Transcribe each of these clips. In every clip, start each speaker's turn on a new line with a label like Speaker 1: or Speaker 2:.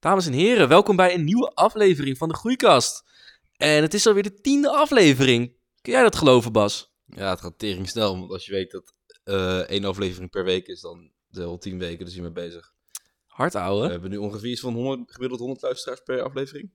Speaker 1: Dames en heren, welkom bij een nieuwe aflevering van de Groeikast. En het is alweer de tiende aflevering. Kun jij dat geloven, Bas?
Speaker 2: Ja, het gaat tering snel, want als je weet dat eh, één aflevering per week is, dan de hele tien weken, dus hiermee bezig.
Speaker 1: Hard, ouwe.
Speaker 2: We hebben nu ongeveer iets van 100, gemiddeld 100 luisteraars per aflevering.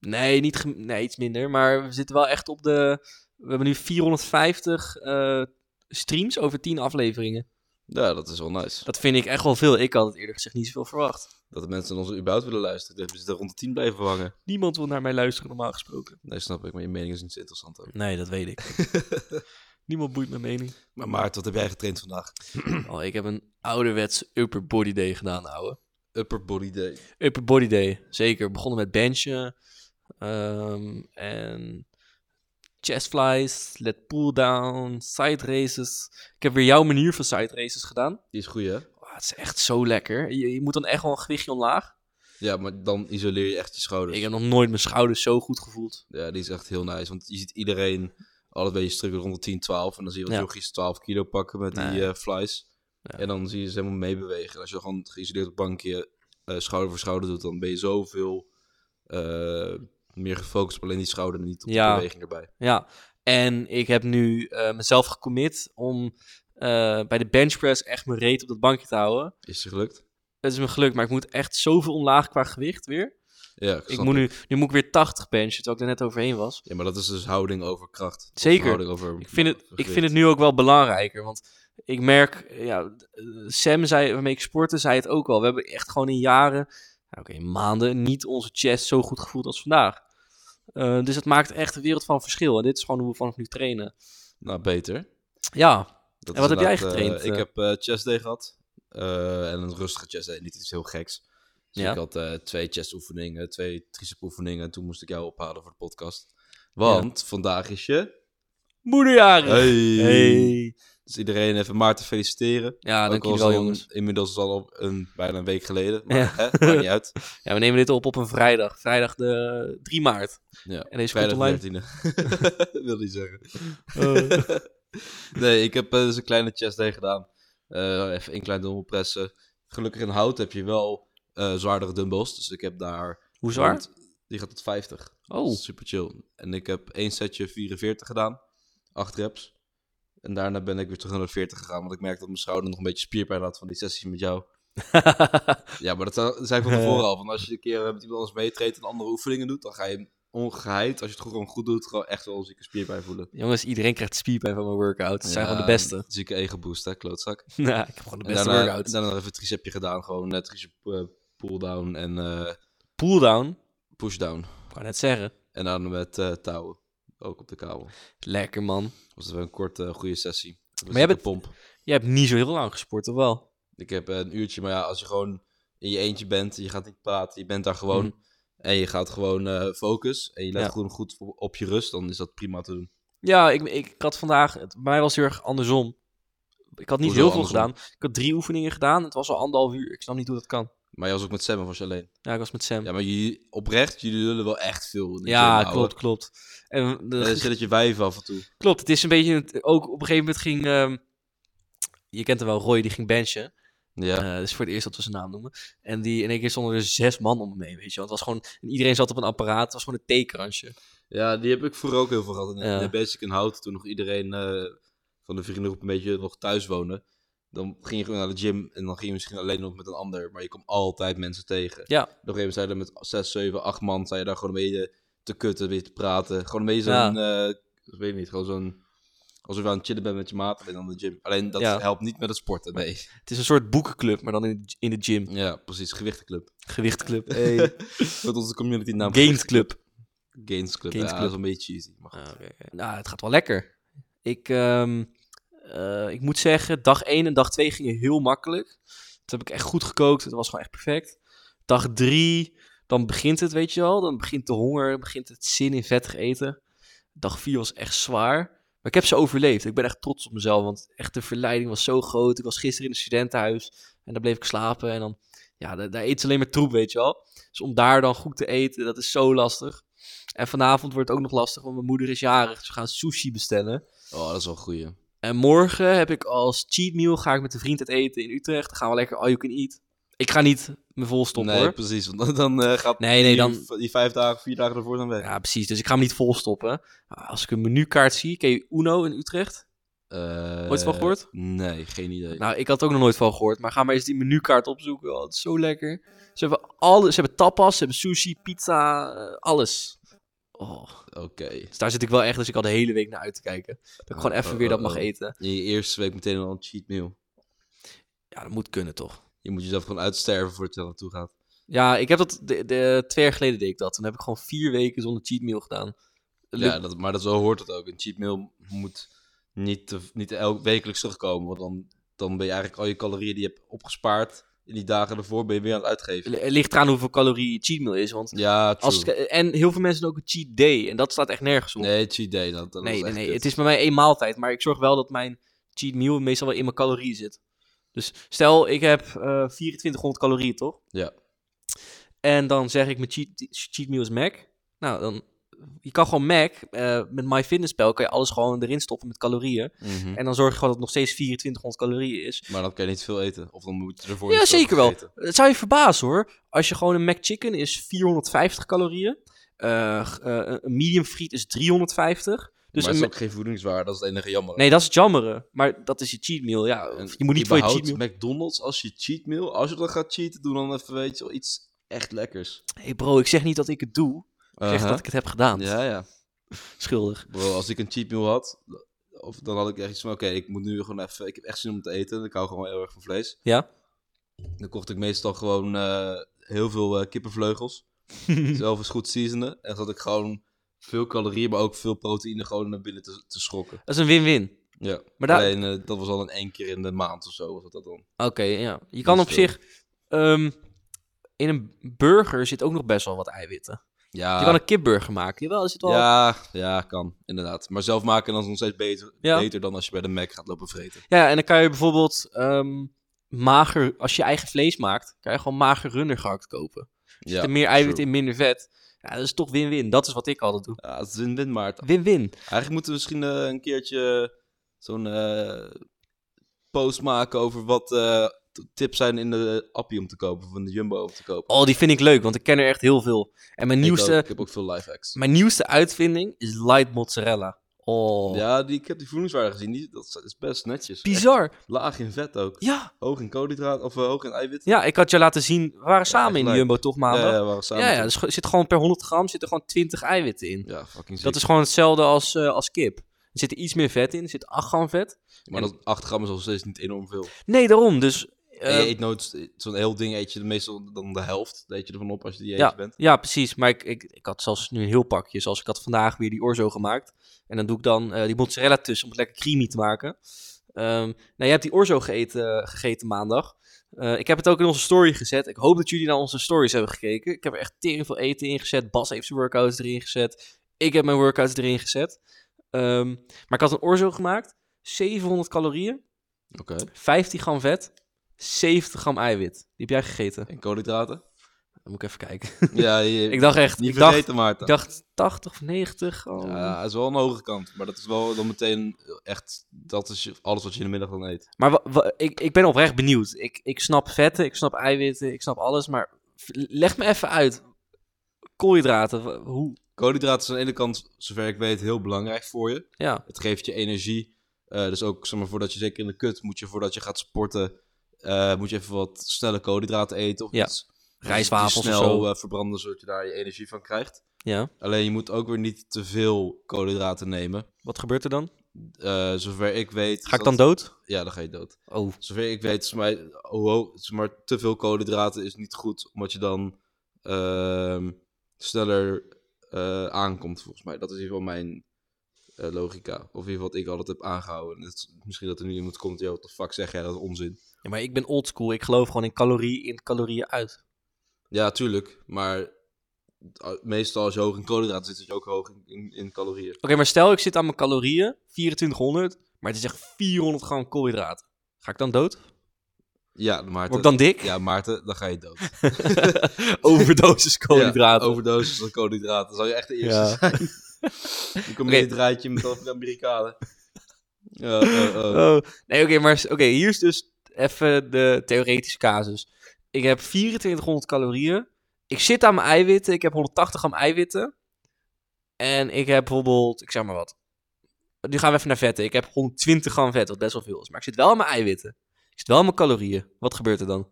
Speaker 1: Nee, niet gem- nee, iets minder. Maar we zitten wel echt op de... We hebben nu 450 eh, streams over 10 afleveringen.
Speaker 2: Ja, dat is wel nice.
Speaker 1: Dat vind ik echt wel veel. Ik had het eerlijk gezegd niet zoveel verwacht.
Speaker 2: Dat de mensen ons überhaupt willen luisteren. Ik dacht, We zitten rond de 10 blijven hangen.
Speaker 1: Niemand wil naar mij luisteren, normaal gesproken.
Speaker 2: Nee, snap ik, maar je mening is niet zo interessant ook.
Speaker 1: Nee, dat weet ik. Niemand boeit mijn mening.
Speaker 2: Maar Maart, wat heb jij getraind vandaag?
Speaker 1: Oh, ik heb een ouderwets upper body day gedaan, ouwe.
Speaker 2: Upper body day.
Speaker 1: Upper body day, zeker. Begonnen met benchen ehm, en chest flies, lat pull down, side races. Ik heb weer jouw manier van side races gedaan.
Speaker 2: Die is goed, hè?
Speaker 1: Oh, het is echt zo lekker. Je, je moet dan echt wel een gewichtje omlaag.
Speaker 2: Ja, maar dan isoleer je echt je schouders.
Speaker 1: Ik heb nog nooit mijn schouders zo goed gevoeld.
Speaker 2: Ja, die is echt heel nice, want je ziet iedereen al een beetje strukken rond de 10, 12. En dan zie je wat
Speaker 1: Ja.
Speaker 2: jochies 12 kilo pakken met die
Speaker 1: Nee.
Speaker 2: eh, flies.
Speaker 1: Ja.
Speaker 2: En dan zie je ze helemaal meebewegen. En als je gewoon geïsoleerd op het bankje eh, schouder voor schouder doet, dan ben je zoveel eh, meer gefocust op alleen die schouder en niet op
Speaker 1: Ja.
Speaker 2: de beweging erbij.
Speaker 1: Ja, en ik heb nu eh, mezelf gecommit om eh, bij de bench press echt mijn reet op dat bankje te houden.
Speaker 2: Is het gelukt?
Speaker 1: Dat is me gelukt, maar ik moet echt zoveel omlaag qua gewicht weer.
Speaker 2: Ja, ik
Speaker 1: Ik
Speaker 2: snap
Speaker 1: moet nu,
Speaker 2: het.
Speaker 1: nu moet ik weer 80 benchen, terwijl ik er net overheen was.
Speaker 2: Ja, maar dat is dus houding over kracht. Of
Speaker 1: Zeker.
Speaker 2: Houding over
Speaker 1: Ik vind, het, ik
Speaker 2: gewicht.
Speaker 1: vind het nu ook wel belangrijker. Want ik merk, ja, eh, Sam zei, waarmee ik sportte, zei het ook al. We hebben echt gewoon in jaren, nou, oké, in maanden, niet onze chest zo goed gevoeld als vandaag. Eh, dus het maakt echt een wereld van verschil. En dit is gewoon hoe we vanaf nu trainen.
Speaker 2: Nou, beter.
Speaker 1: Ja,
Speaker 2: Dat
Speaker 1: En wat
Speaker 2: is
Speaker 1: heb jij
Speaker 2: inderdaad, eh,
Speaker 1: getraind,
Speaker 2: ik
Speaker 1: eh?
Speaker 2: heb eh chest day gehad. Eh, en een rustige chest day, niet iets heel geks. Dus
Speaker 1: Ja.
Speaker 2: ik had eh, twee chest oefeningen, twee tricep oefeningen. En toen moest ik jou ophalen voor de podcast. Want vandaag is je...
Speaker 1: moederjaren.
Speaker 2: Hey!
Speaker 1: Hey.
Speaker 2: Dus iedereen even Maarten feliciteren.
Speaker 1: Ja,
Speaker 2: Ook al is
Speaker 1: dankjewel
Speaker 2: het al
Speaker 1: jongens.
Speaker 2: een- Inmiddels is het al een, bijna een week geleden. Maar
Speaker 1: Ja.
Speaker 2: hè, maakt niet uit.
Speaker 1: Ja, we nemen dit op op een vrijdag. Vrijdag de 3 maart.
Speaker 2: Ja.
Speaker 1: En deze komt
Speaker 2: Vrijdag
Speaker 1: online. Oh.
Speaker 2: 13e. Wil niet zeggen. nee, ik heb eh, dus een kleine chest day gedaan. Eh, even een klein dumbbell pressen. Gelukkig in hout heb je wel eh, zwaardere dumbbells. Dus ik heb daar...
Speaker 1: Hoe zwaar?
Speaker 2: rond- Die gaat tot 50.
Speaker 1: Oh,
Speaker 2: Super chill. En ik heb één setje 44 gedaan. 8 reps. En daarna ben ik weer terug naar de 40 gegaan. Want ik merkte dat mijn schouder nog een beetje spierpijn had van die sessies met jou. Ja, maar dat zou- zei ik van tevoren al. Van als je een keer eh, met iemand anders meetreedt en andere oefeningen doet, dan ga je ongeheid, als je het gewoon goed doet, gewoon echt wel een zieke spierpijn voelen.
Speaker 1: jongens, iedereen krijgt spierpijn van mijn workout. Ze zijn
Speaker 2: Ja,
Speaker 1: gewoon de beste.
Speaker 2: Zieke ego boost, hè, klootzak.
Speaker 1: Ja, ik heb gewoon de
Speaker 2: En
Speaker 1: beste
Speaker 2: daarna,
Speaker 1: workout.
Speaker 2: daarna nog even tricepje gedaan. Gewoon net tricep eh, pull-down en eh,
Speaker 1: Pulldown,
Speaker 2: push-down.
Speaker 1: ik wou net zeggen.
Speaker 2: En dan met eh, touwen. Ook op de kabel.
Speaker 1: Lekker man.
Speaker 2: Was dat wel een korte, eh, goede sessie.
Speaker 1: Maar jij
Speaker 2: de
Speaker 1: bent-
Speaker 2: pomp.
Speaker 1: Je hebt niet zo heel lang gesport, of wel?
Speaker 2: Ik heb eh, een uurtje, maar ja, als je gewoon in je eentje bent, je gaat niet praten, je bent daar gewoon.
Speaker 1: Mhm.
Speaker 2: En je gaat gewoon eh, focus en je let
Speaker 1: Ja.
Speaker 2: gewoon goed op- op je rust, dan is dat prima te doen.
Speaker 1: Ja, ik, ik had vandaag... het- bij mij was het heel erg andersom. Ik had niet
Speaker 2: Hoezo
Speaker 1: heel veel
Speaker 2: andersom?
Speaker 1: gedaan. Ik had drie oefeningen gedaan. Het was al anderhalf uur. Ik snap niet hoe dat kan.
Speaker 2: Maar je was ook met Sam of was je alleen?
Speaker 1: Ja, ik was met Sam.
Speaker 2: Ja,
Speaker 1: Ja,
Speaker 2: maar jullie, oprecht, jullie lullen wel echt veel. in de gym, ouwe.
Speaker 1: klopt, klopt. En de-
Speaker 2: Eh, zet het je wijven af en toe.
Speaker 1: klopt, het is een beetje... het- Ook op een gegeven moment ging... ehm, je kent hem wel, Roy, die ging benchen.
Speaker 2: Ja.
Speaker 1: Eh, dus voor het eerst dat we zijn naam noemen. En die, in één keer stonden er zes man om me mee, weet je wel. Het was gewoon... en Iedereen zat op een apparaat. Het was gewoon een theekransje.
Speaker 2: ja, die heb ik vroeger ook heel veel gehad. In,
Speaker 1: Ja.
Speaker 2: in de basic in hout, toen nog iedereen eh, van de vriendengroep een beetje nog thuis wonen. Dan ging je gewoon naar de gym en dan ging je misschien alleen nog met een ander. Maar je kwam altijd mensen tegen.
Speaker 1: Ja.
Speaker 2: Op een gegeven moment zijn er met 6, 7, 8 man. Zijn je daar gewoon een beetje te kutten, een beetje te praten. Gewoon een beetje zo'n. eh, ik weet niet, gewoon zo'n. Alsof je aan het chillen bent met je maat alleen aan de gym. Alleen dat
Speaker 1: Ja.
Speaker 2: helpt niet met het sporten, nee.
Speaker 1: Het is een soort boekenclub, maar dan in, in de gym.
Speaker 2: Ja, precies. Gewichtenclub.
Speaker 1: Gewichtclub.
Speaker 2: Wat onze community naam
Speaker 1: Gained Club.
Speaker 2: Gains Club.
Speaker 1: Gains
Speaker 2: ja,
Speaker 1: Club.
Speaker 2: dat is een beetje cheesy. Maar goed.
Speaker 1: Nou, het gaat wel lekker. Ik, ehm, eh, ik moet zeggen, dag 1 en dag 2 gingen heel makkelijk. Dat heb ik echt goed gekookt. Het was gewoon echt perfect. Dag 3, dan begint het, weet je wel. Dan begint de honger, begint het zin in vettig eten. Dag 4 was echt zwaar. Maar ik heb ze overleefd. Ik ben echt trots op mezelf, want echt de verleiding was zo groot. Ik was gisteren in het studentenhuis en daar bleef ik slapen. En dan, ja, daar, daar eet ze alleen maar troep, weet je wel. Dus om daar dan goed te eten, dat is zo lastig. En vanavond wordt het ook nog lastig, want mijn moeder is jarig. Dus we gaan sushi bestellen.
Speaker 2: Oh, dat is wel een goeie.
Speaker 1: En morgen heb ik als cheat meal, ga ik met een vriend uit eten in Utrecht. Dan gaan we lekker all you can eat. Ik ga niet me vol stoppen
Speaker 2: nee,
Speaker 1: hoor.
Speaker 2: precies. Want dan, dan eh, gaat
Speaker 1: Nee, nee,
Speaker 2: die,
Speaker 1: dan-
Speaker 2: die vijf dagen, vier dagen ervoor zijn weg.
Speaker 1: Ja, precies. Dus ik ga hem niet vol stoppen. Als ik een menukaart zie, ken je Uno in Utrecht?
Speaker 2: Eh,
Speaker 1: Ooit van gehoord?
Speaker 2: Nee, geen idee.
Speaker 1: Nou, ik had er ook nog nooit van gehoord. Maar ga maar eens die menukaart opzoeken. Oh, het is zo lekker. Ze hebben alles. Ze hebben tapas, ze hebben sushi, pizza, eh, alles. Oh,
Speaker 2: Oké.
Speaker 1: dus daar zit ik wel echt, dus ik al de hele week naar uit te kijken. Dat ik gewoon
Speaker 2: Oh,
Speaker 1: even
Speaker 2: oh,
Speaker 1: weer dat
Speaker 2: oh,
Speaker 1: mag
Speaker 2: oh.
Speaker 1: eten.
Speaker 2: In je eerste week meteen al een cheat meal.
Speaker 1: Ja, dat moet kunnen toch?
Speaker 2: Je moet jezelf gewoon uitsterven voordat je daar naartoe gaat.
Speaker 1: Ja, ik heb dat de, de- twee jaar geleden deed ik dat. Toen heb ik gewoon vier weken zonder cheat meal gedaan. Lukt-
Speaker 2: Ja, dat, maar dat, zo hoort het ook. Een cheat meal moet niet, te, niet elk wekelijks terugkomen. Want dan, dan ben je eigenlijk al je calorieën die je hebt opgespaard in die dagen ervoor, ben je weer aan het uitgeven.
Speaker 1: Het ligt eraan hoeveel calorie je cheat meal is. Want
Speaker 2: Ja, true.
Speaker 1: als, en heel veel mensen doen ook een cheat day. En dat staat echt nergens op.
Speaker 2: Nee, cheat day. Dat, dat
Speaker 1: nee,
Speaker 2: is
Speaker 1: nee,
Speaker 2: echt
Speaker 1: nee.
Speaker 2: kut.
Speaker 1: Het is bij mij één maaltijd, maar ik zorg wel dat mijn cheat meal meestal wel in mijn calorieën zit. Dus stel, ik heb eh 2400 calorieën, toch?
Speaker 2: Ja.
Speaker 1: En dan zeg ik mijn cheat, cheat meal is Mac. Nou, dan... Je kan gewoon Mac, eh met MyFitnessPal kan je alles gewoon erin stoppen met calorieën.
Speaker 2: Mhm.
Speaker 1: En dan zorg je gewoon dat het nog steeds 2400 calorieën is.
Speaker 2: Maar dan kan je niet veel eten. Of dan moet je ervoor
Speaker 1: Ja,
Speaker 2: iets
Speaker 1: zeker wel.
Speaker 2: overeten.
Speaker 1: Het zou je verbazen hoor. Als je gewoon een McChicken is 450 calorieën. Eh, g- eh, een medium friet is 350. Dus een
Speaker 2: maar het is
Speaker 1: Mac-
Speaker 2: ook geen voedingswaarde. Dat is het enige jammer.
Speaker 1: Nee, dat is het jammere. Maar dat is je cheat meal. Ja,
Speaker 2: En
Speaker 1: je moet niet voor je cheat
Speaker 2: überhaupt
Speaker 1: meal...
Speaker 2: McDonald's, als je cheat meal, als je dan gaat cheaten, doe dan even, weet je wel, iets echt lekkers.
Speaker 1: hey bro, ik zeg niet dat ik het doe. Ik zeg
Speaker 2: Aha.
Speaker 1: dat ik het heb gedaan.
Speaker 2: Uh-huh. Ja, ja.
Speaker 1: Schuldig.
Speaker 2: Bro, als ik een cheat meal had, of, dan had ik echt iets van, oké, ik moet nu gewoon even, ik heb echt zin om te eten, ik hou gewoon heel erg van vlees.
Speaker 1: Ja?
Speaker 2: Dan kocht ik meestal gewoon eh, heel veel eh, kippenvleugels, zelf eens goed seasonen. En zat ik gewoon veel calorieën, maar ook veel proteïne gewoon naar binnen te, te schokken.
Speaker 1: Dat is een win-win.
Speaker 2: Ja,
Speaker 1: Maar daar-
Speaker 2: alleen eh, dat was al in één keer in de maand of zo, was dat dan.
Speaker 1: Oké, ja. Je kan
Speaker 2: Dat
Speaker 1: op
Speaker 2: is veel.
Speaker 1: zich... ehm, in een burger zit ook nog best wel wat eiwitten.
Speaker 2: Ja,
Speaker 1: Je kan een kipburger maken. Jawel, er zit wel...
Speaker 2: ja, ja, kan, inderdaad. Maar zelf maken dan is nog steeds beter,
Speaker 1: Ja.
Speaker 2: beter dan als je bij de Mac gaat lopen vreten.
Speaker 1: Ja, en dan kan je bijvoorbeeld ehm, mager, als je eigen vlees maakt, kan je gewoon mager runner gehakt kopen. Er
Speaker 2: Ja,
Speaker 1: zitten meer eiwit
Speaker 2: true.
Speaker 1: in, minder vet. Ja, dat is toch win-win. Dat is wat ik altijd doe.
Speaker 2: ja, het is win-win, Maarten.
Speaker 1: Win-win.
Speaker 2: Eigenlijk moeten we misschien eh, een keertje zo'n eh, post maken over wat eh, t- tips zijn in de appie om te kopen, of in de jumbo om te kopen.
Speaker 1: Oh, die vind ik leuk, want ik ken er echt heel veel. En mijn,
Speaker 2: Ik, ook,
Speaker 1: nieuwste,
Speaker 2: ik heb ook veel live hacks.
Speaker 1: mijn nieuwste uitvinding is light mozzarella. Oh,
Speaker 2: Ja, die, ik heb die voedingswaarde gezien. Die, dat is best netjes.
Speaker 1: bizar.
Speaker 2: Echt laag in vet ook.
Speaker 1: Ja.
Speaker 2: Hoog in koolhydraten, of eh, hoog in eiwit.
Speaker 1: ja, ik had je laten zien, we waren samen in de
Speaker 2: gelijk.
Speaker 1: Jumbo toch maandag. Ja,
Speaker 2: Eh, we waren samen.
Speaker 1: ja, dus er zit gewoon per 100 gram zit er gewoon 20 eiwitten in.
Speaker 2: Ja, fucking ziek.
Speaker 1: Dat is gewoon hetzelfde als, eh, als kip. Er zit iets meer vet in, er zit 8 gram vet.
Speaker 2: Maar dat 8 gram is nog steeds niet enorm veel.
Speaker 1: Nee, daarom. Dus
Speaker 2: En
Speaker 1: eh,
Speaker 2: je eet nooit, zo'n heel ding eet je meestal dan de helft, eet je ervan op als je die
Speaker 1: Ja,
Speaker 2: eentje bent.
Speaker 1: ja, precies. Maar ik, ik, ik had zelfs nu een heel pakje. Zoals ik had vandaag weer die orzo gemaakt. En dan doe ik dan eh, die mozzarella tussen om het lekker creamy te maken. Ehm nou, jij hebt die orzo gegeten, gegeten maandag. Eh, ik heb het ook in onze story gezet. Ik hoop dat jullie naar onze stories hebben gekeken. Ik heb er echt tering veel eten in gezet. Bas heeft zijn workouts erin gezet. Ik heb mijn workouts erin gezet. Ehm, maar ik had een orzo gemaakt. 700 calorieën,
Speaker 2: Oké.
Speaker 1: 15 gram vet, 70 gram eiwit. Die heb jij gegeten.
Speaker 2: En koolhydraten?
Speaker 1: Dan moet ik even kijken.
Speaker 2: ja, je,
Speaker 1: Ik dacht echt,
Speaker 2: niet
Speaker 1: ik dacht,
Speaker 2: vergeten, Maarten.
Speaker 1: ik dacht 80 of 90. oh.
Speaker 2: Ja, dat is wel een hoge kant. Maar dat is wel dan meteen echt... Dat is je- alles wat je in de middag dan eet.
Speaker 1: Maar wa- wa- ik, ik ben oprecht benieuwd. Ik, ik snap vetten, ik snap eiwitten, ik snap alles. Maar v- leg me even uit. Koolhydraten, wa- hoe?
Speaker 2: Koolhydraten zijn aan de ene kant, zover ik weet, heel belangrijk voor je.
Speaker 1: Ja,
Speaker 2: Het geeft je energie. Eh, dus ook, zeg maar, voordat je zeker in de kut... Moet je voordat je gaat sporten... eh, moet je even wat snelle koolhydraten eten of
Speaker 1: Ja.
Speaker 2: iets. die-
Speaker 1: Rijstwafels
Speaker 2: die
Speaker 1: of
Speaker 2: snel
Speaker 1: zo.
Speaker 2: eh, verbranden, zodat je daar je energie van krijgt.
Speaker 1: ja.
Speaker 2: Alleen je moet ook weer niet te veel koolhydraten nemen.
Speaker 1: Wat gebeurt er dan?
Speaker 2: Eh, zover ik weet...
Speaker 1: Ga ik
Speaker 2: is
Speaker 1: dan
Speaker 2: dat-
Speaker 1: dood?
Speaker 2: Ja, dan ga je dood.
Speaker 1: Oh,
Speaker 2: Zover ik weet, is mij, oh, oh, is maar te veel koolhydraten is niet goed, omdat je dan ehm, sneller eh, aankomt, volgens mij. Dat is in ieder geval mijn eh, logica. Of in ieder geval wat ik altijd heb aangehouden. En het is- misschien dat er nu iemand komt, joh, what the fuck zeg jij, dat is onzin.
Speaker 1: ja, maar ik ben oldschool. Ik geloof gewoon in calorie in, calorieën uit.
Speaker 2: Ja, tuurlijk, maar a- meestal als je hoog in koolhydraten zit, zit je ook hoog in, in, in calorieën.
Speaker 1: Oké, maar stel ik zit aan mijn calorieën, 2400, maar het is echt 400 gram koolhydraten. Ga ik dan dood?
Speaker 2: Ja, Maarten.
Speaker 1: Word ik dan dik?
Speaker 2: Ja, Maarten, dan ga je dood.
Speaker 1: Overdosis koolhydraten.
Speaker 2: Ja, overdosis van koolhydraten. Dan zou je echt de eerste
Speaker 1: Ja.
Speaker 2: zijn. Dan kom je
Speaker 1: Oké.
Speaker 2: in dit rijtje met al de Amerikanen. Ja, eh, eh.
Speaker 1: Oh, nee, oké, maar s- oké, hier is dus even de theoretische casus. Ik heb 2400 calorieën. Ik zit aan mijn eiwitten. Ik heb 180 gram eiwitten. En ik heb bijvoorbeeld, ik zeg maar wat. Nu gaan we even naar vetten. Ik heb 120 gram vet, wat best wel veel is. Maar ik zit wel aan mijn eiwitten. Ik zit wel aan mijn calorieën. Wat gebeurt er dan?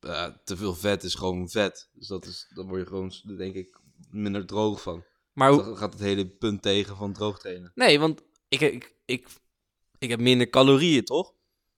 Speaker 2: Ja, te veel vet is gewoon vet. Dus dat is, dan word je gewoon, denk ik, minder droog van.
Speaker 1: Maar hoe,
Speaker 2: Dan gaat het hele punt tegen van droog trainen.
Speaker 1: Nee, want ik, ik, ik, ik heb minder calorieën, toch?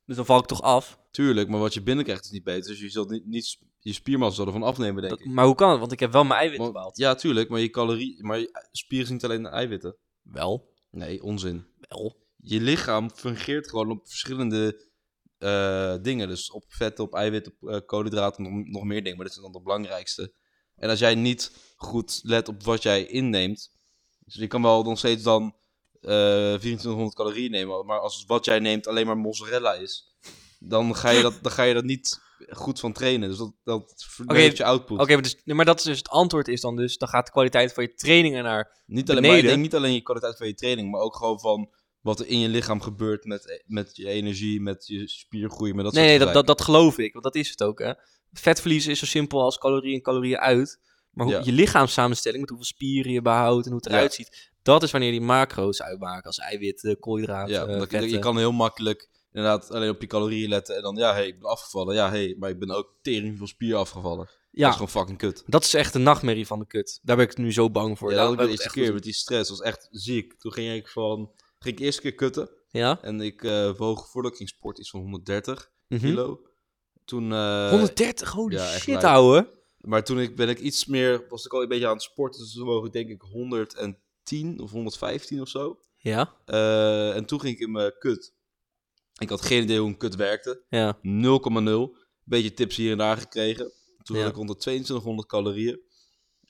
Speaker 1: Dus dan val ik toch af.
Speaker 2: Tuurlijk, maar wat je binnenkrijgt is niet beter. Dus je zult niet, niet je spiermassa zal ervan afnemen, denk
Speaker 1: Dat-
Speaker 2: ik.
Speaker 1: maar hoe kan het? Want ik heb wel mijn eiwitten
Speaker 2: Want-
Speaker 1: bepaald.
Speaker 2: ja, tuurlijk, maar je calorie, maar je spieren zien niet alleen de eiwitten.
Speaker 1: Wel,
Speaker 2: Nee, onzin.
Speaker 1: wel.
Speaker 2: Je lichaam fungeert gewoon op verschillende eh, dingen. Dus op vet, op eiwitten, op eh, koolhydraten, nog, nog meer dingen. Maar dit zijn dan de belangrijkste. En als jij niet goed let op wat jij inneemt. Dus je kan wel nog steeds dan eh 2400 calorieën nemen. Maar als wat jij neemt alleen maar mozzarella is. Dan ga je dat, dan ga je dat niet goed van trainen. Dus dat, dat verlegt je output.
Speaker 1: Oké, maar, dus, nee, maar dat is dus het antwoord is dan dus, dan gaat de kwaliteit van je training ernaar.
Speaker 2: Niet alleen, maar ik
Speaker 1: beneden.
Speaker 2: denk niet alleen je kwaliteit van je training, maar ook gewoon van wat er in je lichaam gebeurt met, met je energie, met je spiergroei, met dat
Speaker 1: nee, nee,
Speaker 2: soort
Speaker 1: dat,
Speaker 2: gezeik.
Speaker 1: dat, dat geloof ik, want dat is het ook, hè. Vetverlies is zo simpel als calorieën en calorieën uit. Maar hoe,
Speaker 2: Ja.
Speaker 1: je lichaamssamenstelling, met hoeveel spieren je behoudt en hoe het
Speaker 2: Ja.
Speaker 1: eruit ziet, dat is wanneer die macro's uitmaken, als eiwitten, koolhydraten, eh,
Speaker 2: Ja,
Speaker 1: ja,
Speaker 2: omdat je, je kan heel makkelijk inderdaad alleen op je calorieën letten en dan, ja, hé, hey, ik ben afgevallen. Ja, hé, hey, maar ik ben ook tering veel spier afgevallen. Dat
Speaker 1: Ja,
Speaker 2: is gewoon fucking kut.
Speaker 1: dat is echt een nachtmerrie van de kut. Daar ben ik nu zo bang voor.
Speaker 2: Ja, dat
Speaker 1: Daarom
Speaker 2: had ik
Speaker 1: heb
Speaker 2: de
Speaker 1: ik
Speaker 2: eerste
Speaker 1: het
Speaker 2: keer
Speaker 1: echt
Speaker 2: met die stress, was echt ziek. Toen ging ik van, ging ik eerst keer kutten
Speaker 1: goed- Ja?
Speaker 2: en ik eh, woog voordat ik ging sporten iets van 130
Speaker 1: Mhm.
Speaker 2: kilo. Toen, eh,
Speaker 1: 130, holy
Speaker 2: ja, echt
Speaker 1: shit,
Speaker 2: lijp.
Speaker 1: ouwe.
Speaker 2: Maar toen ik, ben ik iets meer, was ik al een beetje aan het sporten. Dus toen woog ik denk ik 110 of 115 of zo.
Speaker 1: Ja,
Speaker 2: Eh, en toen ging ik in mijn kut. Ik had geen idee hoe een kut werkte.
Speaker 1: ja.
Speaker 2: 0,0. Beetje tips hier en daar gekregen. Toen
Speaker 1: Ja.
Speaker 2: had ik rond de 2200 calorieën.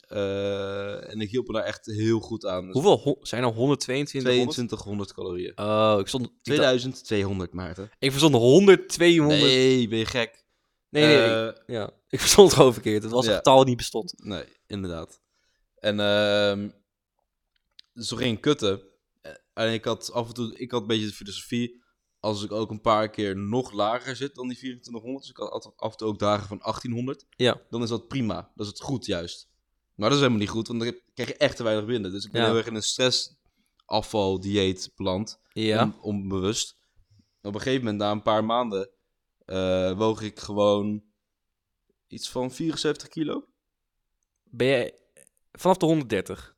Speaker 2: Eh, en ik hielp me daar echt heel goed aan. Dus
Speaker 1: Hoeveel hon- zijn er 122?
Speaker 2: 2200 calorieën.
Speaker 1: Oh, ik stond... Ik, dacht-
Speaker 2: 2200, Maarten.
Speaker 1: ik verstond 100, 200... Nee,
Speaker 2: Nee, ben je gek?
Speaker 1: nee, nee. ik-
Speaker 2: Eh,
Speaker 1: ja. Ik verstond het gewoon verkeerd. Het was
Speaker 2: Ja.
Speaker 1: een getal dat niet bestond.
Speaker 2: Nee, inderdaad. En ehm dus toen ging ik kutten. Eh, En ik had af en toe, ik had een beetje de filosofie, als ik ook een paar keer nog lager zit dan die 2400, dus ik had altijd- af en toe ook dagen van 1800,
Speaker 1: Ja.
Speaker 2: dan is dat prima. Dat is het goed juist. Maar dat is helemaal niet goed, want dan heb- krijg je echt te weinig binnen. Dus ik ben
Speaker 1: Ja.
Speaker 2: heel erg in een stressafvaldieet beland,
Speaker 1: Ja.
Speaker 2: on- onbewust. Op een gegeven moment, na een paar maanden, eh, woog ik gewoon iets van 74 kilo.
Speaker 1: Ben jij... Vanaf de 130.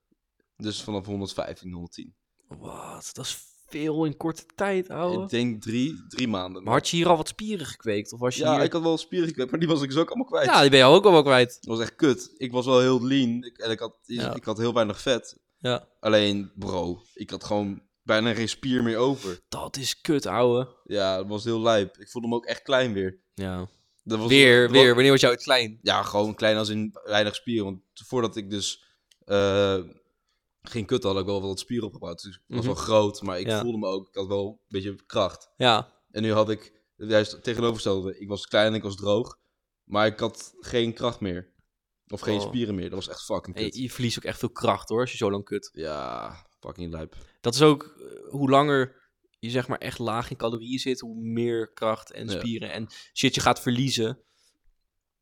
Speaker 2: Dus vanaf 115, 110.
Speaker 1: Wat? Dat is veel in korte tijd,
Speaker 2: Ik
Speaker 1: ouwe.
Speaker 2: denk drie, drie maanden.
Speaker 1: Maar had je hier al wat spieren gekweekt? Of was je
Speaker 2: ja,
Speaker 1: hier...
Speaker 2: ik had wel spieren gekweekt, maar die was ik dus ook allemaal kwijt.
Speaker 1: Ja, die ben je ook al wel kwijt.
Speaker 2: Dat was echt kut. Ik was wel heel lean ik, en ik had,
Speaker 1: Ja.
Speaker 2: ik had heel weinig vet.
Speaker 1: Ja.
Speaker 2: Alleen, bro, ik had gewoon bijna geen spier meer over.
Speaker 1: Dat is kut, ouwe.
Speaker 2: Ja, dat was heel lijp. Ik voelde me ook echt klein weer.
Speaker 1: Ja.
Speaker 2: Dat was
Speaker 1: Weer,
Speaker 2: dat-
Speaker 1: weer. Wanneer was jou klein?
Speaker 2: Ja, gewoon klein als in weinig spieren. Want voordat ik dus eh ging kutten, had ik wel wat spieren opgebouwd. Dus ik was
Speaker 1: Mhm.
Speaker 2: wel groot, maar ik
Speaker 1: Ja.
Speaker 2: voelde me ook, ik had wel een beetje kracht.
Speaker 1: Ja.
Speaker 2: En nu had ik juist het tegenovergestelde. Ik was klein en ik was droog. Maar ik had geen kracht meer. Of geen
Speaker 1: Oh.
Speaker 2: spieren meer. Dat was echt fucking
Speaker 1: En
Speaker 2: kut.
Speaker 1: je, je verliest ook echt veel kracht, hoor. Als je zo lang kut.
Speaker 2: Ja, fucking lijp.
Speaker 1: Dat is ook eh, hoe langer je zeg maar echt laag in calorieën zit, hoe meer kracht en
Speaker 2: Ja.
Speaker 1: spieren en shit je gaat verliezen.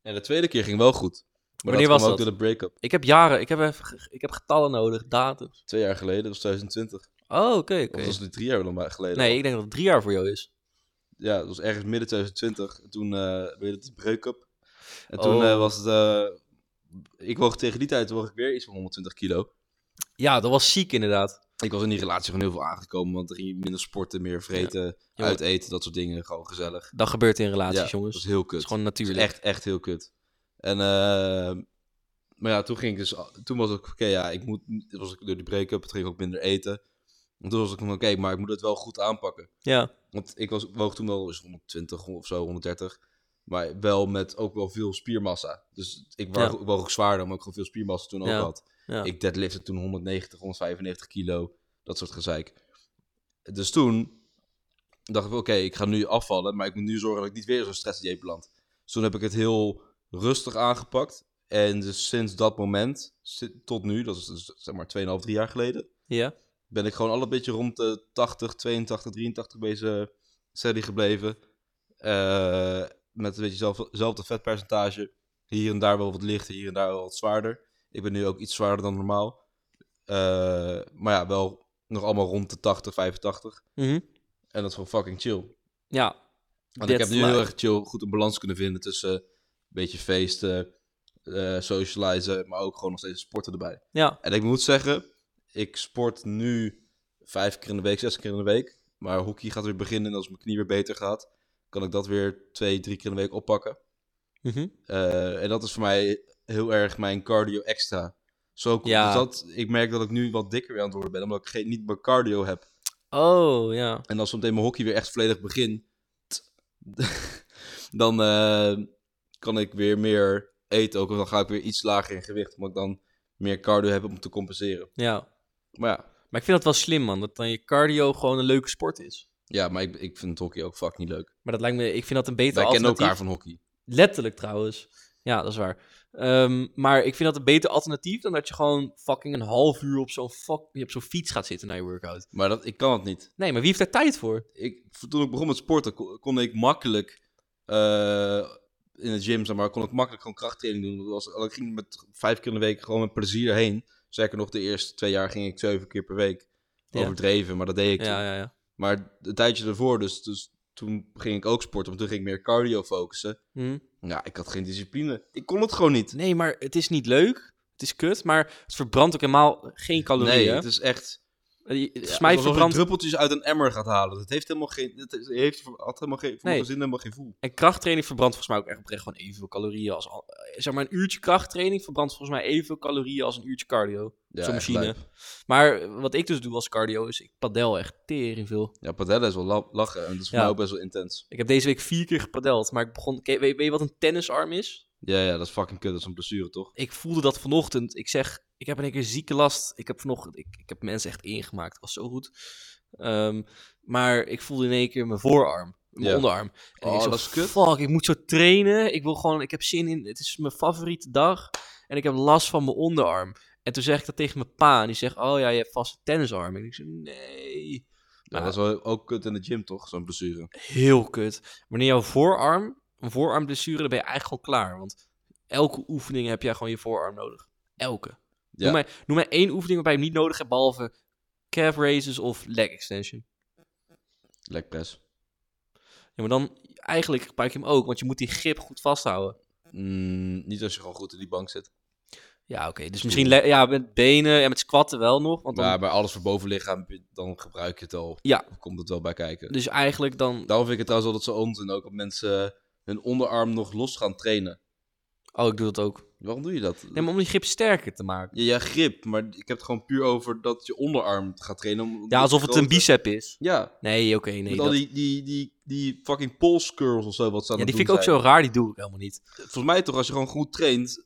Speaker 2: En de tweede keer ging wel goed. Maar
Speaker 1: Wanneer
Speaker 2: dat
Speaker 1: was
Speaker 2: kwam ook
Speaker 1: dat?
Speaker 2: door de break-up.
Speaker 1: Ik heb jaren, ik heb, even, ge- ik heb getallen nodig, datums.
Speaker 2: Twee jaar geleden, dat was 2020.
Speaker 1: Oh, oké, oké.
Speaker 2: Of dat was nu drie jaar dan maar geleden.
Speaker 1: Nee, ik denk dat het drie jaar voor jou is.
Speaker 2: Ja, dat was ergens midden 2020. En toen eh weer de break-up. En toen
Speaker 1: Oh.
Speaker 2: eh, was het... eh, ik woog tegen die tijd woog ik weer iets van 120 kilo.
Speaker 1: Ja, dat was ziek inderdaad.
Speaker 2: Ik was in die relatie gewoon heel veel aangekomen. Want er ging je minder sporten, meer vreten,
Speaker 1: Ja,
Speaker 2: uit eten, dat soort dingen. Gewoon gezellig.
Speaker 1: Dat gebeurt in relaties,
Speaker 2: ja,
Speaker 1: jongens.
Speaker 2: Dat
Speaker 1: Dat
Speaker 2: is heel kut.
Speaker 1: is gewoon
Speaker 2: Dat is
Speaker 1: natuurlijk.
Speaker 2: echt, echt heel kut. En, eh, maar ja, toen ging ik dus, toen was ik, oké, ja, ik moet, toen was ik door die break-up, toen ging ik ook minder eten. En toen was ik van, oké, maar ik moet het wel goed aanpakken.
Speaker 1: Ja,
Speaker 2: Want ik was, woog toen wel eens 120 of zo, 130. Maar wel met ook wel veel spiermassa. Dus ik woog,
Speaker 1: Ja.
Speaker 2: ik woog ook zwaarder, maar ik gewoon veel spiermassa toen ook
Speaker 1: Ja.
Speaker 2: had.
Speaker 1: ja.
Speaker 2: Ik deadliftte toen 190, 195 kilo. Dat soort gezeik. Dus toen dacht ik, oké, ik ga nu afvallen. Maar ik moet nu zorgen dat ik niet weer in zo'n stressdieet beland. Dus toen heb ik het heel rustig aangepakt. En dus sinds dat moment, si- tot nu, dat is dus zeg maar 2,5, 3 jaar geleden...
Speaker 1: ja.
Speaker 2: ben ik gewoon al een beetje rond de 80, 82, 83 bezig serie gebleven. Eh, met een beetje zelf, hetzelfde vetpercentage. Hier en daar wel wat lichter, hier en daar wel wat zwaarder. Ik ben nu ook iets zwaarder dan normaal. Eh, maar ja, wel nog allemaal rond de 80, 85.
Speaker 1: Mhm.
Speaker 2: En dat is gewoon fucking chill.
Speaker 1: Ja.
Speaker 2: Want ik
Speaker 1: That's
Speaker 2: heb nu heel
Speaker 1: life.
Speaker 2: erg chill goed een balans kunnen vinden tussen eh, een beetje feesten, eh socializen, maar ook gewoon nog steeds sporten erbij.
Speaker 1: Ja.
Speaker 2: En ik moet zeggen, ik sport nu vijf keer in de week, zes keer in de week. Maar hockey gaat weer beginnen en als mijn knie weer beter gaat, kan ik dat weer twee, drie keer in de week oppakken.
Speaker 1: Mhm.
Speaker 2: Eh, en dat is voor mij heel erg mijn cardio extra. Zo komt
Speaker 1: Ja.
Speaker 2: dat, ik merk dat ik nu wat dikker weer aan het worden ben, omdat ik geen, niet mijn cardio heb.
Speaker 1: Oh, ja.
Speaker 2: En als meteen mijn hockey weer echt volledig begint, dan eh, kan ik weer meer eten ook. En dan ga ik weer iets lager in gewicht, omdat ik dan meer cardio heb om te compenseren.
Speaker 1: Ja.
Speaker 2: Maar ja,
Speaker 1: Maar ik vind dat wel slim, man. Dat dan je cardio gewoon een leuke sport is.
Speaker 2: ja maar ik, ik vind hockey ook fuck niet leuk.
Speaker 1: Maar dat lijkt me... Ik vind dat een beter
Speaker 2: Wij kennen
Speaker 1: alternatief.
Speaker 2: elkaar van hockey.
Speaker 1: Letterlijk trouwens. Ja, dat is waar. Ehm, maar ik vind dat een beter alternatief dan dat je gewoon fucking een half uur op zo'n fuck, op zo'n fiets gaat zitten na je workout.
Speaker 2: Maar dat, ik kan het niet.
Speaker 1: Nee, maar wie heeft daar tijd voor?
Speaker 2: Ik, toen ik begon met sporten, kon, kon ik makkelijk eh, in de gym, zeg maar, kon ik makkelijk gewoon krachttraining doen. Dat was, ik ging met vijf keer in de week gewoon met plezier heen. Zeker nog, de eerste twee jaar ging ik zeven keer per week.
Speaker 1: Ja.
Speaker 2: Overdreven, maar dat deed ik toen.
Speaker 1: Ja, ja, ja.
Speaker 2: Maar een tijdje ervoor, dus, dus toen ging ik ook sporten, want toen ging ik meer cardio focussen.
Speaker 1: Hm.
Speaker 2: Ja, ik had geen discipline. Ik kon het gewoon niet.
Speaker 1: Nee, maar het is niet leuk. Het is kut, maar het verbrandt ook helemaal geen
Speaker 2: Nee,
Speaker 1: calorieën.
Speaker 2: het is echt...
Speaker 1: Eh, je- Volgens
Speaker 2: Ja,
Speaker 1: mij
Speaker 2: alsof je
Speaker 1: verbrandt...
Speaker 2: druppeltjes uit een emmer gaat halen. Dat heeft helemaal geen... Dat is- heeft voor- had helemaal geen... Voor
Speaker 1: Nee.
Speaker 2: mijn zin helemaal geen voel.
Speaker 1: En krachttraining verbrandt volgens mij ook echt oprecht gewoon evenveel calorieën als... al- eh, Zeg maar, een uurtje krachttraining verbrandt volgens mij evenveel calorieën als een uurtje cardio.
Speaker 2: Ja,
Speaker 1: Zo'n
Speaker 2: echt
Speaker 1: machine.
Speaker 2: lijp.
Speaker 1: Maar eh, wat ik dus doe als cardio is, ik padel echt tering veel.
Speaker 2: Ja, padellen is wel la- lachen. En dat is voor
Speaker 1: Ja.
Speaker 2: mij ook best wel intens.
Speaker 1: Ik heb deze week vier keer gepadeld, maar ik begon... Ken- Weet, weet je wat een tennisarm is?
Speaker 2: Ja, ja, dat is fucking kut. Dat is een blessure, toch?
Speaker 1: Ik voelde dat vanochtend. Ik zeg, ik heb in één keer zieke last. Ik heb vanochtend... Ik, ik heb mensen echt ingemaakt. Het was zo goed. Ehm, maar ik voelde in één keer mijn voorarm. Mijn
Speaker 2: Ja.
Speaker 1: onderarm. En
Speaker 2: Oh,
Speaker 1: ik zo,
Speaker 2: dat is kut.
Speaker 1: Fuck, ik moet zo trainen. Ik wil gewoon... Ik heb zin in... Het is mijn favoriete dag. En ik heb last van mijn onderarm. En toen zeg ik dat tegen mijn pa. En die zegt, oh ja, je hebt vast een tennisarm. En ik zeg, nee...
Speaker 2: Ja, dat is wel ook kut in de gym, toch? Zo'n blessure.
Speaker 1: heel kut. Wanneer jouw voorarm, een voorarmblessure, dan ben je eigenlijk gewoon klaar. Want elke oefening heb jij gewoon je voorarm nodig. Elke.
Speaker 2: Ja.
Speaker 1: Noem, mij, noem mij één oefening waarbij je hem niet nodig hebt, behalve calf raises of leg extension.
Speaker 2: Lekpres.
Speaker 1: Ja, maar dan eigenlijk gebruik je hem ook, want je moet die grip goed vasthouden.
Speaker 2: Mm, niet als je gewoon goed in die bank zit.
Speaker 1: Ja, oké. Dus misschien le- ja, met benen en met squatten wel nog. Want dan,
Speaker 2: Maar bij alles voor bovenlichaam, dan gebruik je het al.
Speaker 1: Ja.
Speaker 2: Komt het wel bij kijken.
Speaker 1: Dus eigenlijk dan...
Speaker 2: Daarom vind ik het trouwens altijd zo onzin ook dat mensen hun onderarm nog los gaan trainen.
Speaker 1: Oh, ik doe dat ook.
Speaker 2: Waarom doe je dat?
Speaker 1: Nee, maar om die grip sterker te maken.
Speaker 2: Ja, ja, grip, maar ik heb het gewoon puur over dat je onderarm gaat trainen. om-
Speaker 1: Ja, alsof het een bicep is.
Speaker 2: Ja,
Speaker 1: Nee, oké, nee.
Speaker 2: met al
Speaker 1: dat-
Speaker 2: die, die, die, die fucking pulse curls of zo wat ze aan
Speaker 1: Ja,
Speaker 2: het
Speaker 1: die vind ik
Speaker 2: doen
Speaker 1: ook
Speaker 2: zijn.
Speaker 1: zo raar, die doe ik helemaal niet.
Speaker 2: Volgens mij toch, als je gewoon goed traint,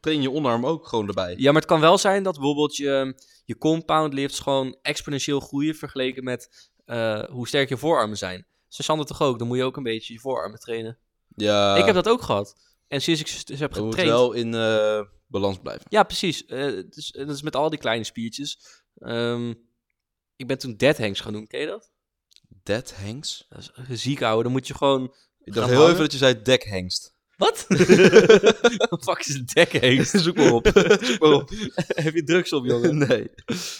Speaker 2: train je onderarm ook gewoon erbij.
Speaker 1: Ja, maar het kan wel zijn dat bijvoorbeeld je, je compound lifts gewoon exponentieel groeien vergeleken met eh, hoe sterk je voorarmen zijn. Ze Sander toch ook, dan moet je ook een beetje je voorarmen trainen.
Speaker 2: Ja,
Speaker 1: ik heb dat ook gehad. En sinds ik ze dus heb
Speaker 2: je moet
Speaker 1: getraind.
Speaker 2: wel in eh, balans blijven.
Speaker 1: Ja, precies. Eh, dus, en dat is met al die kleine spiertjes. Ehm, ik ben toen dead hangs gaan doen, ken je dat?
Speaker 2: Dead hangs?
Speaker 1: Dat is ziek ouwe, dan moet je gewoon...
Speaker 2: Ik
Speaker 1: Gaan
Speaker 2: dacht heel
Speaker 1: hangen?
Speaker 2: even dat je zei dek hangst.
Speaker 1: Wat? Wat fuck is een dead hangs?
Speaker 2: Zoek maar op. Zoek maar op.
Speaker 1: heb je drugs op, jongen?
Speaker 2: Oh, nee.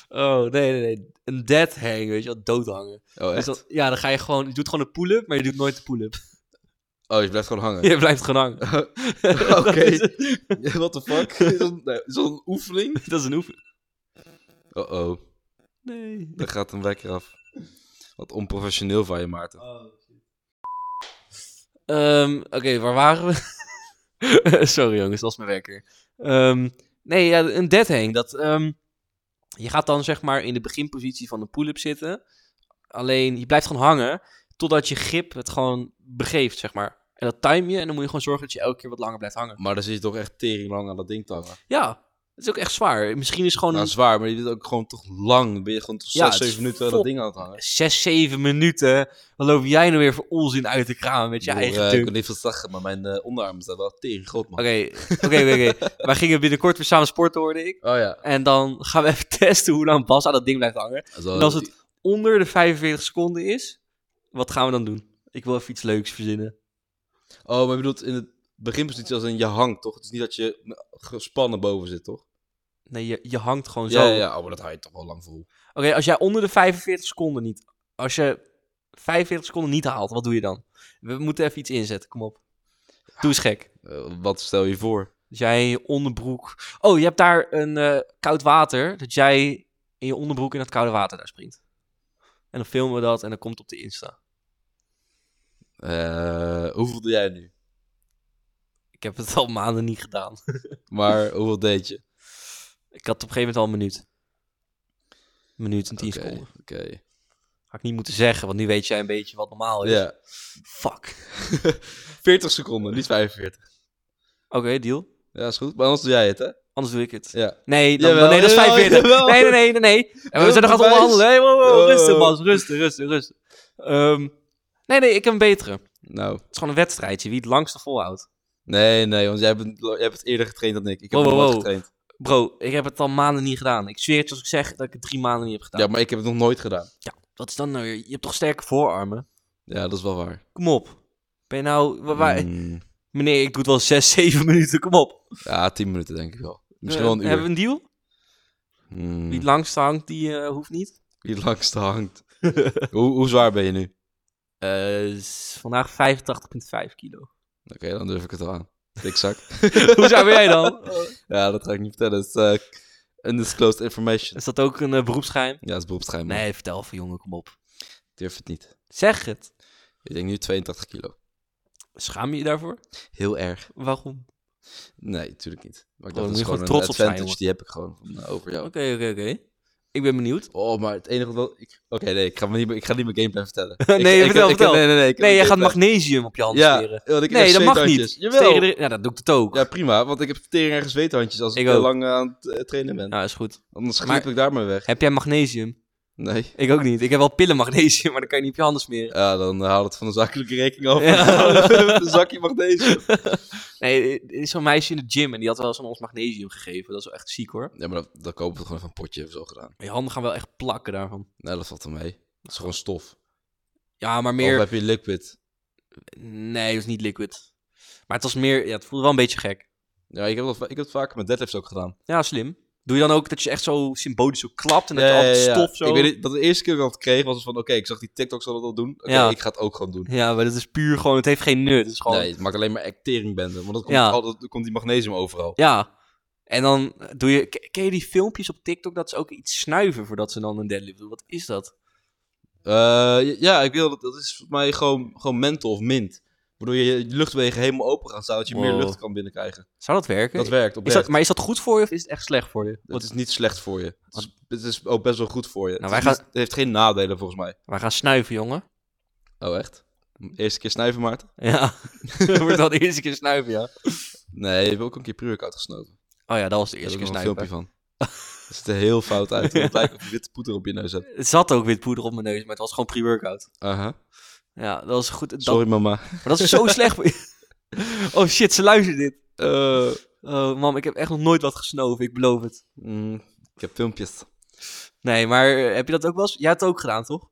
Speaker 1: Oh, nee, nee, nee. Een dead hang, weet je wel, doodhangen.
Speaker 2: Oh,
Speaker 1: Dus
Speaker 2: echt?
Speaker 1: dan- ja, dan ga je gewoon, je doet gewoon een pull-up, maar je doet nooit de pull-up.
Speaker 2: Oh, je blijft gewoon hangen.
Speaker 1: Je blijft gewoon hangen. Dat
Speaker 2: Oké.
Speaker 1: is het.
Speaker 2: What the fuck? Is dat, nee, is dat een oefening?
Speaker 1: Dat is een oefening.
Speaker 2: Oh oh,
Speaker 1: Nee.
Speaker 2: daar gaat een wekker af. Wat onprofessioneel van je, Maarten.
Speaker 1: Ehm, Oké, waar waren we? Sorry jongens, dat is mijn wekker. Ehm, nee, ja, een dead hang. Dat, ehm, je gaat dan zeg maar in de beginpositie van de pull-up zitten. Alleen, je blijft gewoon hangen totdat je grip het gewoon begeeft, zeg maar. En dat time je en dan moet je gewoon zorgen dat je elke keer wat langer blijft hangen.
Speaker 2: Maar dan zit je toch echt tering lang aan dat ding te hangen.
Speaker 1: Ja, het is ook echt zwaar. Misschien is gewoon
Speaker 2: Nou,
Speaker 1: een
Speaker 2: zwaar, maar je zit ook gewoon toch lang. Ben je gewoon toch
Speaker 1: Ja,
Speaker 2: 6,
Speaker 1: het is
Speaker 2: 7 minuten aan dat
Speaker 1: fok-
Speaker 2: ding aan het hangen.
Speaker 1: zes, zeven minuten. Wat loop jij nou weer voor onzin uit de kraan met je
Speaker 2: Broer,
Speaker 1: eigen
Speaker 2: eh,
Speaker 1: dunk?
Speaker 2: ik kan niet veel zeggen, maar mijn eh, onderarm staat wel tering groot, man.
Speaker 1: Oké, oké, oké. oké. Wij gingen binnenkort weer samen sporten, hoorde ik.
Speaker 2: Oh ja.
Speaker 1: En dan gaan we even testen hoe lang Bas aan dat ding blijft hangen.
Speaker 2: Dat is wel-
Speaker 1: En als het onder de 45 seconden is, wat gaan we dan doen? Ik wil even iets leuks verzinnen.
Speaker 2: Oh, maar je bedoelt in het beginpositie als in je hangt, toch? Het is niet dat je gespannen boven zit, toch?
Speaker 1: Nee, je, je hangt gewoon
Speaker 2: Ja,
Speaker 1: zo.
Speaker 2: ja, ja. Oh, maar dat hou je toch wel lang vol.
Speaker 1: Oké, als jij onder de 45 seconden niet... Als je 45 seconden niet haalt, wat doe je dan? We moeten even iets inzetten, kom op. Doe eens gek.
Speaker 2: Eh, wat stel je voor?
Speaker 1: Dat jij in je onderbroek... Oh, je hebt daar een eh, koud water. Dat jij in je onderbroek in dat koude water daar springt. En dan filmen we dat en dan komt het op de Insta.
Speaker 2: Eh, hoeveel doe jij nu?
Speaker 1: Ik heb het al maanden niet gedaan.
Speaker 2: Maar hoeveel deed je?
Speaker 1: Ik had op een gegeven moment al een minuut. Een minuut en tien
Speaker 2: Oké,
Speaker 1: seconden.
Speaker 2: Oké.
Speaker 1: Had ik niet moeten zeggen, want nu weet jij een beetje wat normaal is.
Speaker 2: Ja.
Speaker 1: Fuck.
Speaker 2: 40 seconden, niet 45.
Speaker 1: Oké, deal.
Speaker 2: Ja, is goed. Maar anders doe jij het, hè?
Speaker 1: Anders doe ik het.
Speaker 2: Ja.
Speaker 1: Nee, dan,
Speaker 2: Jawel,
Speaker 1: nee dat is
Speaker 2: jawel,
Speaker 1: 45.
Speaker 2: jawel.
Speaker 1: Nee, nee, nee, nee, nee. En we
Speaker 2: Heel
Speaker 1: zijn nog aan het
Speaker 2: bewijs.
Speaker 1: onderhandelen. Hey, wow, wow,
Speaker 2: Oh.
Speaker 1: Rustig, Bas. Rustig, rustig, rustig. Ehm, nee, nee, ik heb een betere. Het
Speaker 2: Nou.
Speaker 1: is gewoon een wedstrijdje. Wie het langste volhoudt.
Speaker 2: Nee, nee, want jij bent, jij hebt het eerder getraind dan ik. Ik heb
Speaker 1: Wow,
Speaker 2: het
Speaker 1: wow,
Speaker 2: nooit
Speaker 1: wow.
Speaker 2: getraind.
Speaker 1: Bro, ik heb het al maanden niet gedaan. Ik zweer het je als ik zeg dat ik het drie maanden niet heb gedaan.
Speaker 2: Ja, maar ik heb het nog nooit gedaan.
Speaker 1: Wat is dan nou weer? Je hebt toch sterke voorarmen?
Speaker 2: Ja, dat is wel waar.
Speaker 1: Kom op. Ben je nou... wa- wa-
Speaker 2: Mm,
Speaker 1: Meneer, ik doe het wel zes, zeven minuten. Kom op.
Speaker 2: ja, 10 minuten denk ik wel. Misschien wel een
Speaker 1: Eh,
Speaker 2: uur.
Speaker 1: Hebben we een deal?
Speaker 2: Mm,
Speaker 1: Wie het langst hangt, die eh, hoeft niet.
Speaker 2: wie het langst hangt. hoe, hoe zwaar ben je nu?
Speaker 1: Eh, is vandaag 85,5 kilo.
Speaker 2: Oké, dan durf ik het wel aan. Dikzak.
Speaker 1: Hoe zou jij dan?
Speaker 2: ja, dat ga ik niet vertellen. Dat is eh, undisclosed information.
Speaker 1: Is dat ook een eh, beroepsgeheim?
Speaker 2: Ja, dat is beroepsgeheim. man.
Speaker 1: Nee, vertel even, jongen, kom op.
Speaker 2: Ik durf het niet.
Speaker 1: Zeg het.
Speaker 2: Ik denk nu 82 kilo.
Speaker 1: Schaam je je daarvoor?
Speaker 2: Heel erg.
Speaker 1: Waarom?
Speaker 2: Nee, natuurlijk niet. Maar
Speaker 1: Oh, dan
Speaker 2: ik dacht, dat
Speaker 1: moet
Speaker 2: is
Speaker 1: je
Speaker 2: gewoon
Speaker 1: gewoon
Speaker 2: een
Speaker 1: trots op zijn,
Speaker 2: advantage.
Speaker 1: jongen.
Speaker 2: Die heb ik gewoon van, eh, over jou.
Speaker 1: Oké, oké, oké. Ik ben benieuwd.
Speaker 2: Oh, maar het enige wat wel... ik- Oké, nee, ik ga, me niet, meer- ik ga niet mijn gameplay vertellen.
Speaker 1: Nee, vertel,
Speaker 2: Ik- ik, ik, ik-
Speaker 1: vertel.
Speaker 2: nee, nee, nee. ik heb
Speaker 1: Nee,
Speaker 2: een
Speaker 1: jij gaat
Speaker 2: gameplay.
Speaker 1: magnesium op je hand smeren.
Speaker 2: Ja, want ik heb
Speaker 1: Nee, dat mag
Speaker 2: zweethandjes.
Speaker 1: niet.
Speaker 2: Jawel.
Speaker 1: Steren er- Ja, dat doe ik het ook.
Speaker 2: Ja, prima, want ik heb tegen ergens zweethandjes als ik,
Speaker 1: Ik
Speaker 2: eh,
Speaker 1: ook.
Speaker 2: lang eh, aan het eh, trainen ben.
Speaker 1: Nou, is goed.
Speaker 2: Anders
Speaker 1: Maar-
Speaker 2: glip ik daar maar weg.
Speaker 1: Heb jij magnesium?
Speaker 2: Nee.
Speaker 1: Ik ook niet. Ik heb wel pillen magnesium, maar dan kan je niet op je handen smeren.
Speaker 2: Ja, dan eh, haal het van de zakelijke rekening af.
Speaker 1: Ja.
Speaker 2: een zakje magnesium.
Speaker 1: Nee, er is zo'n meisje in de gym en die had wel eens aan ons magnesium gegeven. Dat is wel echt ziek hoor.
Speaker 2: Ja, maar dat, dat kopen we gewoon van een potje of zo gedaan.
Speaker 1: Maar je handen gaan wel echt plakken daarvan.
Speaker 2: Nee, dat valt er mee. Dat is gewoon stof.
Speaker 1: Ja, maar
Speaker 2: Of
Speaker 1: meer...
Speaker 2: heb je liquid.
Speaker 1: Nee, het is niet liquid. Maar het was meer... Ja, het voelde wel een beetje gek.
Speaker 2: Ja, ik heb, dat, va- ik heb het vaker met deadlifts ook gedaan.
Speaker 1: Ja, slim. Doe je dan ook dat je echt zo symbolisch zo klapt en dat
Speaker 2: Ja,
Speaker 1: je al
Speaker 2: ja,
Speaker 1: die
Speaker 2: ja.
Speaker 1: stof zo...
Speaker 2: Ik weet niet, dat de eerste keer dat ik dat kreeg was het van, oké, ik zag die TikToks al dat doen. Oké,
Speaker 1: Ja.
Speaker 2: ik ga het ook gewoon doen.
Speaker 1: Ja, maar dat is puur gewoon... Het heeft geen nut. Het is gewoon...
Speaker 2: Nee, het maakt alleen maar acteringbende. Want dan komt,
Speaker 1: Ja.
Speaker 2: altijd, dan komt die magnesium overal.
Speaker 1: Ja. En dan doe je... Ken- Ken je die filmpjes op TikTok dat ze ook iets snuiven voordat ze dan een deadlift doen? Wat is dat?
Speaker 2: Eh, ja, ik wil dat. Dat is volgens mij gewoon, gewoon menthol of mint. Waardoor je je luchtwegen helemaal open gaan staan, dat je meer
Speaker 1: Wow.
Speaker 2: lucht kan binnenkrijgen.
Speaker 1: Zou dat werken?
Speaker 2: Dat werkt
Speaker 1: is
Speaker 2: oprecht.
Speaker 1: dat, maar is dat goed voor je of is het echt slecht voor je?
Speaker 2: Het
Speaker 1: Want
Speaker 2: is niet slecht voor je. Het is, het is ook best wel goed voor je.
Speaker 1: Nou,
Speaker 2: het, is
Speaker 1: wij
Speaker 2: niet- het heeft geen nadelen volgens mij.
Speaker 1: wij gaan snuiven, jongen.
Speaker 2: Oh, echt? Eerste keer snuiven, Maarten?
Speaker 1: Ja. Wordt wel de eerste keer snuiven, ja.
Speaker 2: Nee, ik heb ook een keer pre-workout gesnoven.
Speaker 1: Oh ja, dat was de
Speaker 2: Daar heb
Speaker 1: eerste
Speaker 2: ik
Speaker 1: keer
Speaker 2: nog een
Speaker 1: snuiven.
Speaker 2: filmpje van. Het ziet er heel fout uit. want Het lijkt op je witte poeder op je neus hebt.
Speaker 1: Het zat ook wit poeder op mijn neus, maar het was gewoon pre-workout.
Speaker 2: Aha.
Speaker 1: Ja, dat was goed. Dat,
Speaker 2: Sorry, mama.
Speaker 1: Maar dat is zo slecht voor je. Oh shit, ze luisteren dit.
Speaker 2: Eh,
Speaker 1: Oh mam, ik heb echt nog nooit wat gesnoven, ik beloof het.
Speaker 2: mm, ik heb filmpjes.
Speaker 1: Nee, maar eh, heb je dat ook wel eens? Jij hebt het ook gedaan, toch?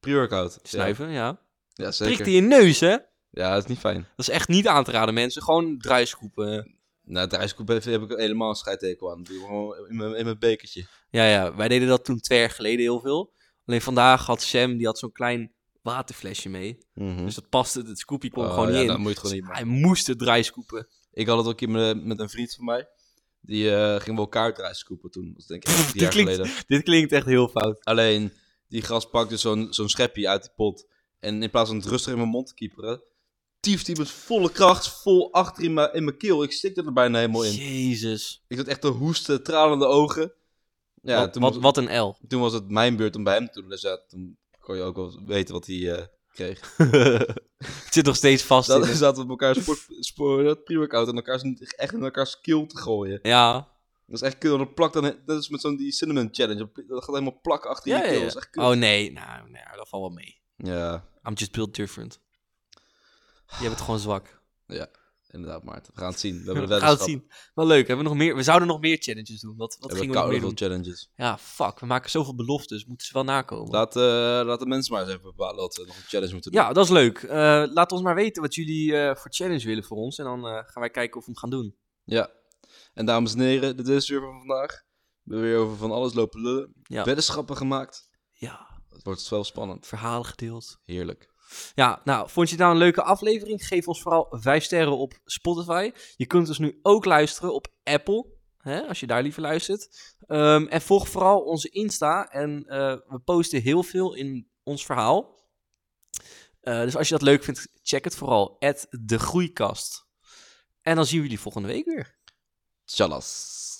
Speaker 2: Pre-workout.
Speaker 1: Snuiven, ja.
Speaker 2: Ja, ja
Speaker 1: Prikt
Speaker 2: zeker.
Speaker 1: in je neus, hè?
Speaker 2: Ja, dat is niet fijn.
Speaker 1: Dat is echt niet aan te raden, mensen. Gewoon druiskoepen.
Speaker 2: Nou, het ijskoep heb heb ik helemaal een scheidtekel aan. Dat doe ik gewoon in mijn, in mijn bekertje.
Speaker 1: Ja, ja, wij deden dat toen twee jaar geleden heel veel. Alleen vandaag had Sam, die had zo'n klein waterflesje mee. Dus dat paste, het scoopje kwam
Speaker 2: Hm. Mhm. Oh,
Speaker 1: gewoon
Speaker 2: ja,
Speaker 1: niet
Speaker 2: dat
Speaker 1: in.
Speaker 2: moet je het gewoon
Speaker 1: Dus
Speaker 2: niet
Speaker 1: hij moest het draaiscoepen.
Speaker 2: Ik had het ook hier met, met een vriend van mij. Die eh, ging wel kaartreis scoepen toen. Dat was denk ik echt
Speaker 1: Pff,
Speaker 2: drie
Speaker 1: dit
Speaker 2: jaar
Speaker 1: klinkt-
Speaker 2: geleden.
Speaker 1: Dit klinkt echt heel fout.
Speaker 2: Alleen, die gast pakte zo'n zo'n schepje uit die pot. En in plaats van het rustig in mijn mond te kieperen... Tief die met volle kracht, vol achter in mijn, in mijn keel. Ik stikte er bijna helemaal in.
Speaker 1: Jezus.
Speaker 2: Ik zat echt te hoesten, tranende ogen. Ja,
Speaker 1: wat,
Speaker 2: toen,
Speaker 1: wat,
Speaker 2: was,
Speaker 1: wat een L.
Speaker 2: toen was het mijn beurt om bij hem te doen. Dus ja, toen kon je ook wel weten wat hij eh, kreeg.
Speaker 1: het zit nog steeds vast.
Speaker 2: Dat
Speaker 1: in.
Speaker 2: is dat we met elkaar sport, sport, dat pre-workout en elkaar echt in elkaars keel te gooien.
Speaker 1: Ja.
Speaker 2: Dat is echt kul. Dat plakt dan, dat is met zo'n die cinnamon challenge. Dat pl- Dat gaat helemaal plak achter
Speaker 1: ja,
Speaker 2: je
Speaker 1: ja,
Speaker 2: keel.
Speaker 1: ja.
Speaker 2: Dat is echt kul.
Speaker 1: Oh nee, nou, nou, dat valt wel mee.
Speaker 2: Ja,
Speaker 1: I'm just built different. Je bent gewoon zwak.
Speaker 2: Ja. Inderdaad, Maarten. We gaan het zien. We hebben
Speaker 1: We
Speaker 2: een
Speaker 1: gaan het
Speaker 2: weddenschap.
Speaker 1: zien. Maar leuk, hebben we, nog meer, we zouden nog meer challenges doen. Wat, wat
Speaker 2: We hebben
Speaker 1: gingen we nog meer
Speaker 2: koude
Speaker 1: doen?
Speaker 2: challenges.
Speaker 1: Ja, fuck. We maken zoveel beloftes. Moeten ze wel nakomen.
Speaker 2: Laat, eh, laat de mensen maar eens even bepalen dat we nog een challenge moeten doen.
Speaker 1: ja, dat is leuk. Eh, laat ons maar weten wat jullie eh, voor challenge willen voor ons. En dan eh, gaan wij kijken of we hem gaan doen.
Speaker 2: Ja. En dames en heren, dit is het weer van vandaag. We hebben weer over van alles lopen lullen.
Speaker 1: Ja.
Speaker 2: Weddenschappen gemaakt.
Speaker 1: Ja,
Speaker 2: Het wordt wel spannend.
Speaker 1: verhalen gedeeld.
Speaker 2: Heerlijk.
Speaker 1: Ja, nou, vond je het nou een leuke aflevering? Geef ons vooral 5 sterren op Spotify. Je kunt ons nu ook luisteren op Apple, hè, als je daar liever luistert. Ehm, en volg vooral onze Insta. En eh, we posten heel veel in ons verhaal. Eh, dus als je dat leuk vindt, check het vooral. @degroeikast. de groeikast. En dan zien we jullie volgende week weer.
Speaker 2: Tjallas.